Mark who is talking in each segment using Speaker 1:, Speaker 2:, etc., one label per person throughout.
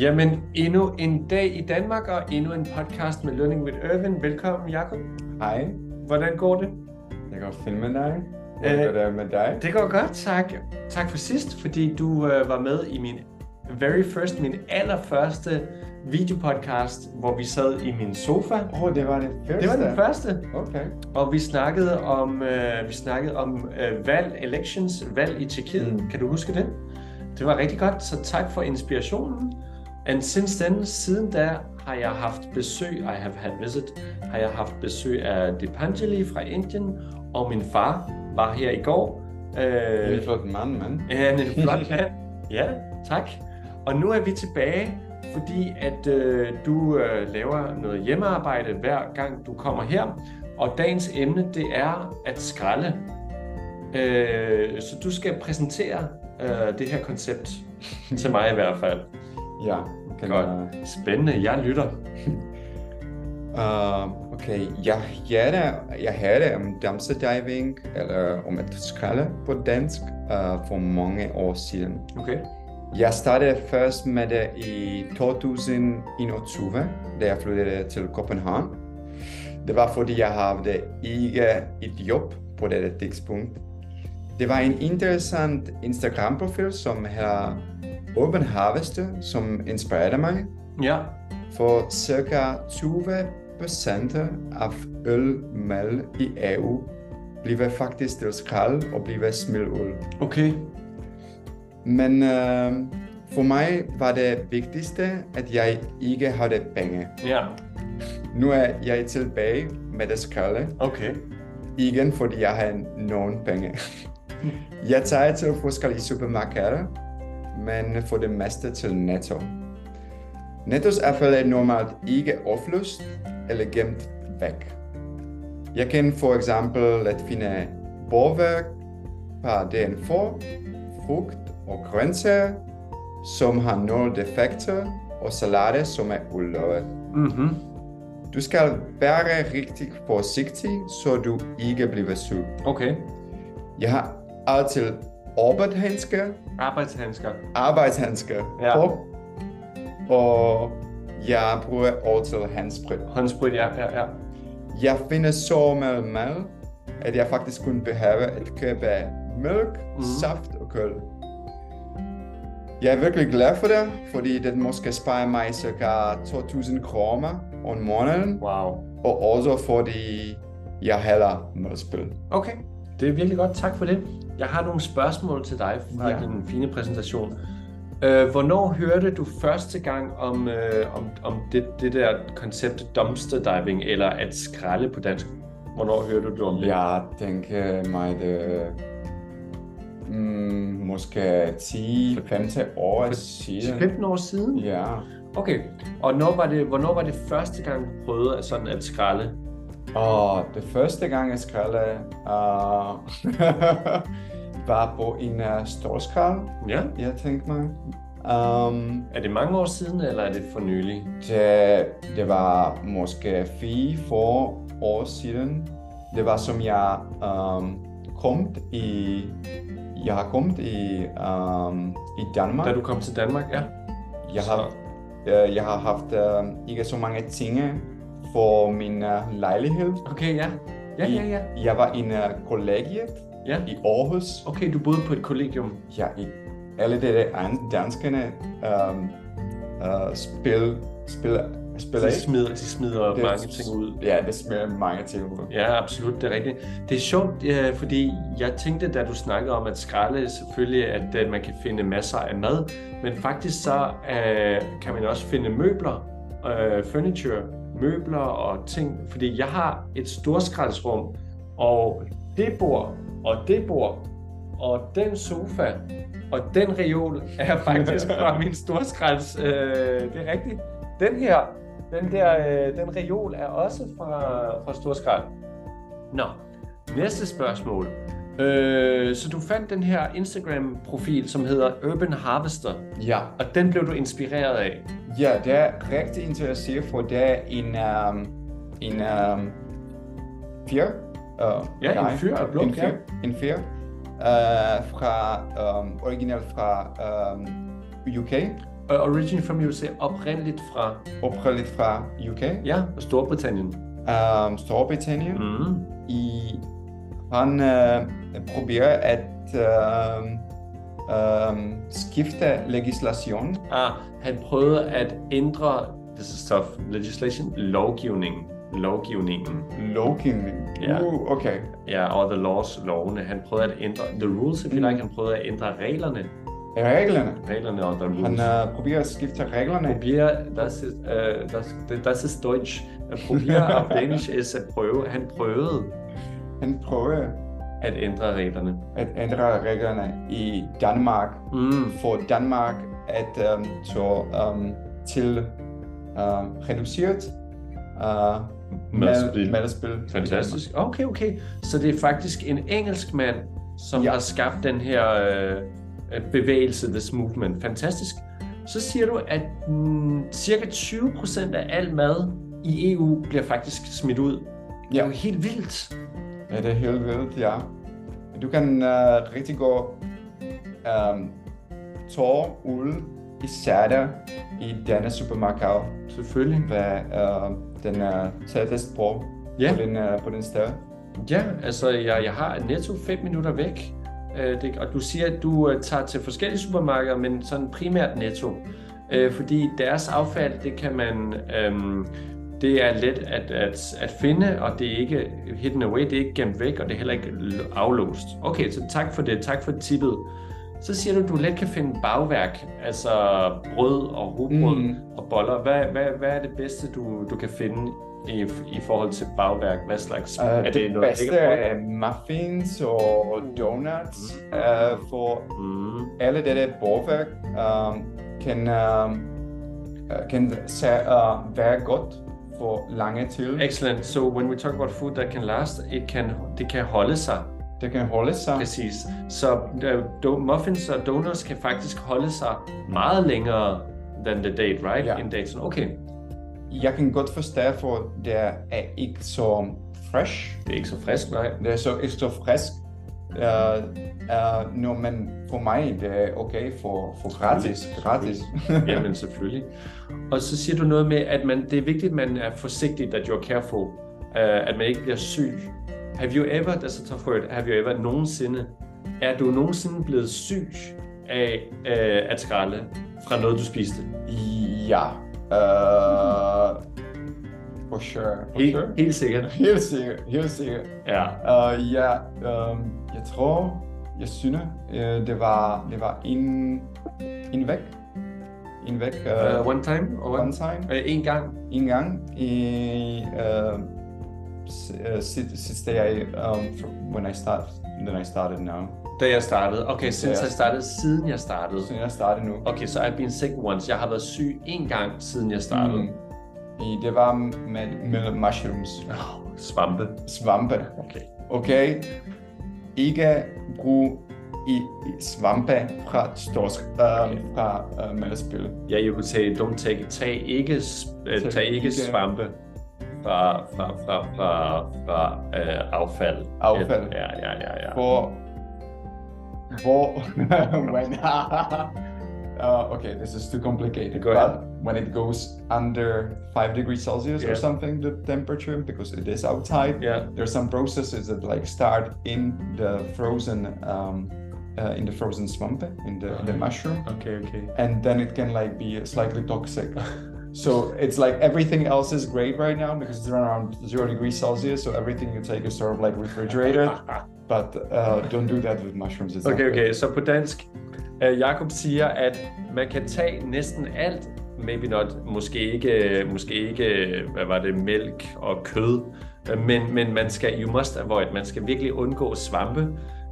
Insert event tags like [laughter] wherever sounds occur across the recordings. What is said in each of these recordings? Speaker 1: Jamen, endnu en dag i Danmark og endnu en podcast med Learning with Irvin. Velkommen, Jakob.
Speaker 2: Hej,
Speaker 1: Hvordan går det?
Speaker 2: jeg kan godt filme dig. Hvordan
Speaker 1: Øh,
Speaker 2: går det med dig?
Speaker 1: Det går godt, tak. Tak for sidst, fordi du øh, var med i min very first, min allerførste videopodcast, hvor vi sad i min sofa.
Speaker 2: Åh, oh, det var det første.
Speaker 1: Det var den første,
Speaker 2: Okay.
Speaker 1: og vi snakkede om, øh, vi snakkede om øh, valg, elections, valg i Tjekkiet. Mm.
Speaker 2: Mm.
Speaker 1: Kan du huske det? Det var rigtig godt, så tak for inspirationen. And since then, siden da, har jeg haft besøg, I have had visit, har jeg haft besøg af Deepanjali fra Indien, og min far var her i går.
Speaker 2: Det er
Speaker 1: Øh,
Speaker 2: en flot mand, mand.
Speaker 1: Ja, en flot mand. Ja, tak. Og nu er vi tilbage, fordi at øh, du øh, laver noget hjemmearbejde hver gang du kommer her. Og dagens emne, det er at skralde. Øh, så du skal præsentere øh, det her koncept [laughs] til mig i hvert fald.
Speaker 2: Ja, kan
Speaker 1: Godt.
Speaker 2: jeg-
Speaker 1: Spændende, jeg lytter.
Speaker 2: Uh, okay, jeg hørte, jeg hørte om dumpsterdiving, eller om at skralde på dansk, uh, for mange år siden.
Speaker 1: Okay.
Speaker 2: Jeg startede først med det i 2021, da jeg flyttede til København. Det var fordi, jeg havde ikke et job på det tidspunkt. Det var en interessant Instagram-profil, som hedder Urban Harvester, som inspirerede mig.
Speaker 1: Ja,
Speaker 2: For cirka 20% af ølmel i EU bliver faktisk til skrald og bliver smidt ud.
Speaker 1: okay.
Speaker 2: Men øh, for mig var det vigtigste, at jeg ikke havde penge.
Speaker 1: Ja,
Speaker 2: Nu er jeg tilbage med det skralde,
Speaker 1: okay.
Speaker 2: igen fordi jeg har nogen penge. jeg tager til forskellige supermarkeder, men for det meste til Netto. Nettos affald er normalt ikke oplyst eller gemt væk. Jeg kan for eksempel at finde borværk, par DNF, frugt og grøntsager, som har nul defekter, og salater, som er ulovet.
Speaker 1: Mm-hmm.
Speaker 2: Du skal være rigtig forsigtig, så du ikke bliver syg.
Speaker 1: Okay.
Speaker 2: Jeg har altid arbejdshandsker,
Speaker 1: Arbejdshandsker.
Speaker 2: arbejdshandsker
Speaker 1: Ja.
Speaker 2: på, og jeg bruger altid handsprit.
Speaker 1: Håndsprit, ja, ja, ja.
Speaker 2: Jeg finder så meget mad, at jeg faktisk kun behøver at købe mælk,
Speaker 1: Mhm.
Speaker 2: mm. saft og køl. Jeg er virkelig glad for det, fordi det måske sparer mig ca. 2.000 kroner om måneden,
Speaker 1: Wow.
Speaker 2: og også fordi jeg hælder madspil.
Speaker 1: Okay, det er virkelig godt. Tak for det. Jeg har nogle spørgsmål til dig fra ja.
Speaker 2: Ja.
Speaker 1: din fine præsentation. Øh, hvornår hørte du første gang om, øh, om, om det, det der koncept dumpster diving, eller at skralde på dansk? Hvornår hørte du om det?
Speaker 2: Jeg tænker mig det mm, måske 10-15 år siden.
Speaker 1: 15 år siden?
Speaker 2: Ja,
Speaker 1: Okay, og når var det, hvornår var det første gang, du prøvede at sådan at skralde?
Speaker 2: og det første gang jeg skraldede uh, [laughs] var på en uh, stor skrald,
Speaker 1: Ja.
Speaker 2: jeg tænkte mig. Um,
Speaker 1: Er det mange år siden, eller er det for nylig?
Speaker 2: det, det var måske 4-4 år siden. Det var som jeg um, kom i jeg har kommet i, um, i Danmark.
Speaker 1: Da du kom til Danmark? Ja.
Speaker 2: Jeg
Speaker 1: Så-
Speaker 2: har, øh, jeg har haft øh, ikke så mange ting for min øh, lejlighed.
Speaker 1: Okay, ja. Ja, ja, ja.
Speaker 2: I- Jeg var i en øh, kollegiet
Speaker 1: ja.
Speaker 2: i Aarhus.
Speaker 1: Okay, du boede på et kollegium.
Speaker 2: Ja, i alle de der an- danskerne øh, øh, spil, spil, spiller
Speaker 1: De
Speaker 2: ikke?
Speaker 1: smider, de smider
Speaker 2: Det-
Speaker 1: mange ting ud.
Speaker 2: Ja, det smider mange ting ud.
Speaker 1: Ja, absolut, det er rigtigt. Det er sjovt, øh, fordi jeg tænkte, da du snakkede om at skralde, selvfølgelig, at øh, man kan finde masser af mad, men faktisk så øh, kan man også finde møbler, øh, furniture, møbler og ting, fordi jeg har et storskraldsrum, og det bord, og det bord, og den sofa, og den reol er faktisk fra min storskralds, øh, det er rigtigt. Den her, den der, øh, den reol er også fra, fra Storskrald. Nå, næste spørgsmål. Øh, så du fandt den her Instagram-profil, som hedder Urban Harvester,
Speaker 2: Ja,
Speaker 1: og den blev du inspireret af.
Speaker 2: ja det er rigtig interessant, for det er en, øh, en øh, fyr. øh,
Speaker 1: Ja, en
Speaker 2: nej,
Speaker 1: fyr, et blond
Speaker 2: en fyr,
Speaker 1: ja.
Speaker 2: en fyr øhm, øh, fra um, original fra um, UK,
Speaker 1: uh, originally from USA, oprindeligt fra
Speaker 2: Oprindeligt fra UK,
Speaker 1: ja, Storbritannien.
Speaker 2: um, Storbritannien.
Speaker 1: Mm.
Speaker 2: i han øh, prøver at øh, øh, skifte legislation.
Speaker 1: Ah, han prøvede at ændre this is tough, legislation, lovgivningen. Lovgivningen.
Speaker 2: Lovgivning.
Speaker 1: Ja.
Speaker 2: Uh, okay.
Speaker 1: Ja, og the laws, lovene. Han prøvede at ændre the rules, if you like. Han prøvede at ændre reglerne.
Speaker 2: Reglerne.
Speaker 1: Reglerne og the rules.
Speaker 2: Han øh, prøver at skifte reglerne.
Speaker 1: Probier, das ist, øh, das, det- das ist Deutsch. At Probier auf Danish is at prøve. Han prøvede
Speaker 2: Han prøver
Speaker 1: at ændre reglerne.
Speaker 2: at ændre reglerne i Danmark
Speaker 1: Mm.
Speaker 2: for Danmark at um, så um, til um, reduceret uh,
Speaker 1: Madspil.
Speaker 2: madspil.
Speaker 1: Fantastisk. Okay, okay. Så det er faktisk en engelsk mand, som ja.
Speaker 2: Ja.
Speaker 1: har skabt den her øh, øh, bevægelse, this movement. Fantastisk. Så siger du, at mm, cirka 20% af al mad i EU bliver faktisk smidt ud. Det er
Speaker 2: Ja.
Speaker 1: jo helt vildt.
Speaker 2: Ja, det er helt vildt, ja. Du kan uh, rigtig gå um, tår ud i sætter i denne supermarked,
Speaker 1: Selvfølgelig.
Speaker 2: hvad uh, den er tættest på,
Speaker 1: Ja.
Speaker 2: på, den, uh, på den sted.
Speaker 1: Ja, altså jeg, jeg har netto 5 minutter væk. Øh, det, og du siger, at du øh, tager til forskellige supermarkeder, men sådan primært netto. Øh, fordi deres affald, det kan man... Øhm, det er let at, at, at finde, og det er ikke hidden away, det er ikke gemt væk, og det er heller ikke l- aflåst. Okay, så tak for det, tak for tippet. Så siger du, at du let kan finde bagværk, altså brød og rugbrød mm.
Speaker 2: Mm.
Speaker 1: og boller. Hvad, hvad, hvad er det bedste, du, du kan finde i, i forhold til bagværk? Hvad slags
Speaker 2: Uh,
Speaker 1: er det noget,
Speaker 2: bedste
Speaker 1: ikke
Speaker 2: er muffins og donuts, uh, for
Speaker 1: Mm.
Speaker 2: alle dette borgværk um, kan, um, uh, kan se, uh, være godt for lange til.
Speaker 1: Excellent. So when we talk about food that can last, it can, det kan holde sig.
Speaker 2: Det kan holde sig.
Speaker 1: Præcis. Så øh, do, muffins og donuts kan faktisk holde sig meget længere than the date, right?
Speaker 2: Ja.
Speaker 1: End daten. Okay,
Speaker 2: Jeg kan godt forstå, for det er ikke så fresh.
Speaker 1: det er ikke så frisk, nej.
Speaker 2: Det er så ikke så frisk. Uh, uh, no, men for mig det er okay for, for gratis. Gratis.
Speaker 1: Jamen selvfølgelig. Og så siger du noget med, at man, det er vigtigt, at man er forsigtig, that you're careful, uh, at man ikke bliver syg. Have you ever, that's a tough word, have you ever nogensinde, er du nogensinde blevet syg af uh, at skralde fra noget, du spiste?
Speaker 2: ja. Uh, for sure. For
Speaker 1: Helt,
Speaker 2: sure.
Speaker 1: helt sikkert.
Speaker 2: Helt sikkert. Helt sikkert.
Speaker 1: Ja.
Speaker 2: Uh, ja, um, jeg tror, jeg synes, uh, det var, det var en, en væk. En væk.
Speaker 1: Uh,
Speaker 2: Uh,
Speaker 1: one time? Og
Speaker 2: one
Speaker 1: one,
Speaker 2: time.
Speaker 1: uh, en gang?
Speaker 2: en gang i eh, uh, sidste jeg um, fr- when I start when I started now
Speaker 1: Da jeg startede. Okay, since
Speaker 2: Ja.
Speaker 1: I started, siden jeg startede.
Speaker 2: så jeg startede nu
Speaker 1: Okay, så so I've been sick once. Jeg har været syg en gang, siden jeg startede.
Speaker 2: Mm. I, det var med, med mushrooms
Speaker 1: Oh, svampe.
Speaker 2: svampe
Speaker 1: Okay.
Speaker 2: okay ikke brug i, i svampe fra storsk uh,
Speaker 1: Okay.
Speaker 2: fra uh, madspil
Speaker 1: Ja, jeg kunne sige, don't take, tag ikke, s- øh,
Speaker 2: Tag
Speaker 1: tag ikke
Speaker 2: ikke-
Speaker 1: svampe fra, fra, fra, fra, fra øh, affald.
Speaker 2: Affald.
Speaker 1: Ja, ja, ja, ja.
Speaker 2: hvor hvor [laughs] when [laughs] uh, okay this is too complicated
Speaker 1: Go
Speaker 2: but
Speaker 1: ahead.
Speaker 2: when it goes under 5 degrees celsius
Speaker 1: Yeah.
Speaker 2: or something the temperature because it is outside
Speaker 1: Ja,
Speaker 2: there's some processes that like start in the frozen um, uh, in the frozen swamp in the,
Speaker 1: Mm-hmm.
Speaker 2: in the mushroom
Speaker 1: okay, okay.
Speaker 2: and then it can like be slightly toxic [laughs] so it's like everything else is great right now because it's around zero degrees celsius so everything you take is sort of like
Speaker 1: [laughs]
Speaker 2: refrigerated but uh, don't do that with mushrooms. It's not
Speaker 1: Okay,
Speaker 2: good.
Speaker 1: okay, så på dansk. Øh, Jakob siger, at man kan tage næsten alt, maybe not, måske ikke, måske ikke øh, hvad var det, mælk og kød, øh, men, men man skal, you must avoid, man skal virkelig undgå svampe,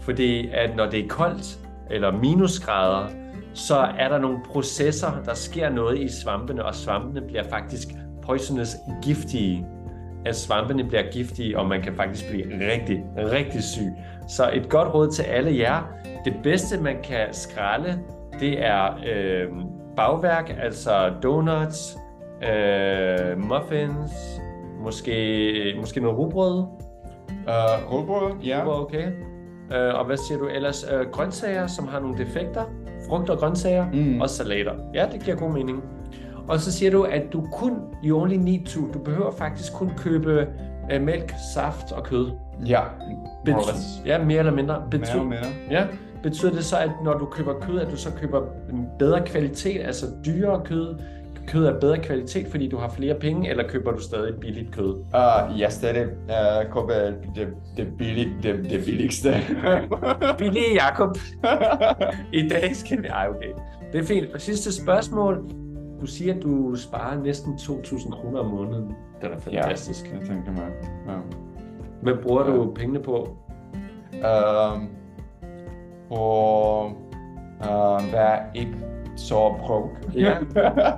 Speaker 1: fordi at når det er koldt, eller minusgrader, så er der nogle processer, der sker noget i svampene, og svampene bliver faktisk poisonous giftige at svampene bliver giftige, og man kan faktisk blive rigtig, rigtig syg. Så et godt råd til alle jer. Det bedste, man kan skralde, det er øh, bagværk, altså donuts, øh, muffins, måske, måske noget rugbrød.
Speaker 2: Uh, rugbrød, ja.
Speaker 1: Rugbrød, okay. Øh, og hvad siger du ellers? Øh, grøntsager, som har nogle defekter. frugter og grøntsager
Speaker 2: Mm.
Speaker 1: mm. og salater. Ja, det giver god mening. Og så siger du, at du kun, you only need to, du behøver faktisk kun købe øh, mælk, saft og kød.
Speaker 2: Ja, more or
Speaker 1: Bety-
Speaker 2: less.
Speaker 1: ja, mere eller mindre.
Speaker 2: Mere og
Speaker 1: Bety-
Speaker 2: mere.
Speaker 1: ja. Betyder det så, at når du køber kød, at du så køber en bedre kvalitet, altså dyrere kød? Kød er bedre kvalitet, fordi du har flere penge, eller køber du stadig billigt kød?
Speaker 2: Uh, jeg stadig uh, køber det, det, billig, det, det billigste. [laughs]
Speaker 1: [laughs] Billig, Jakob. I dag skal vi... Ej, okay. Det er fint. Og sidste spørgsmål. Du siger, at du sparer næsten 2.000 kroner om måneden. Det er da fantastisk. Ja.
Speaker 2: jeg tænker mig. Ja.
Speaker 1: Hvad bruger du pengene på?
Speaker 2: Um, og uh, vær ikke så broke.
Speaker 1: Ja,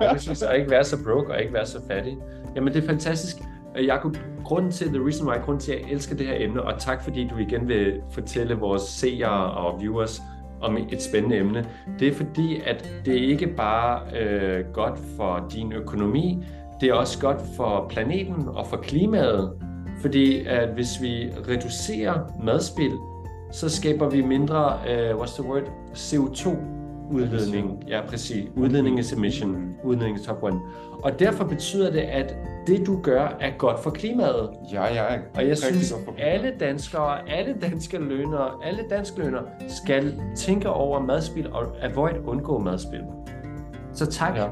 Speaker 1: jeg synes at ikke være så broke og ikke være så fattig. Jamen det er fantastisk. Øh, Jakob, grunden til, the reason why, grunden til, at jeg elsker det her emne, og tak fordi du igen vil fortælle vores seere og viewers om et spændende emne, det er fordi, at det ikke bare øh, godt for din økonomi, det er også godt for planeten og for klimaet, fordi at hvis vi reducerer madspild, så skaber vi mindre, uh, what's the word, CO2-udledning. Ja, præcis. Udledning is emission. Udledning is top one. Og derfor betyder det, at det du gør, er godt for klimaet.
Speaker 2: ja, ja.
Speaker 1: Og jeg
Speaker 2: rigtig
Speaker 1: synes,
Speaker 2: godt for-
Speaker 1: alle danskere, alle danske lønere, alle danske lønere skal tænke over madspil og avoid undgå madspil. Så tak.
Speaker 2: Ja.
Speaker 1: Ja.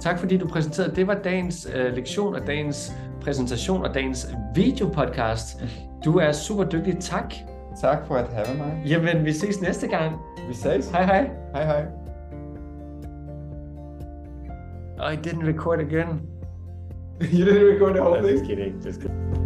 Speaker 1: Tak fordi du præsenterede. Det var dagens øh, lektion og dagens præsentation og dagens videopodcast. Du er super dygtig. Tak.
Speaker 2: Tak for at have mig.
Speaker 1: Jamen, vi ses næste gang.
Speaker 2: Vi ses.
Speaker 1: Hej hej.
Speaker 2: Hej, hej.
Speaker 1: I didn't record again.
Speaker 2: [laughs] you didn't record the whole thing?
Speaker 1: kidding. Just kidding.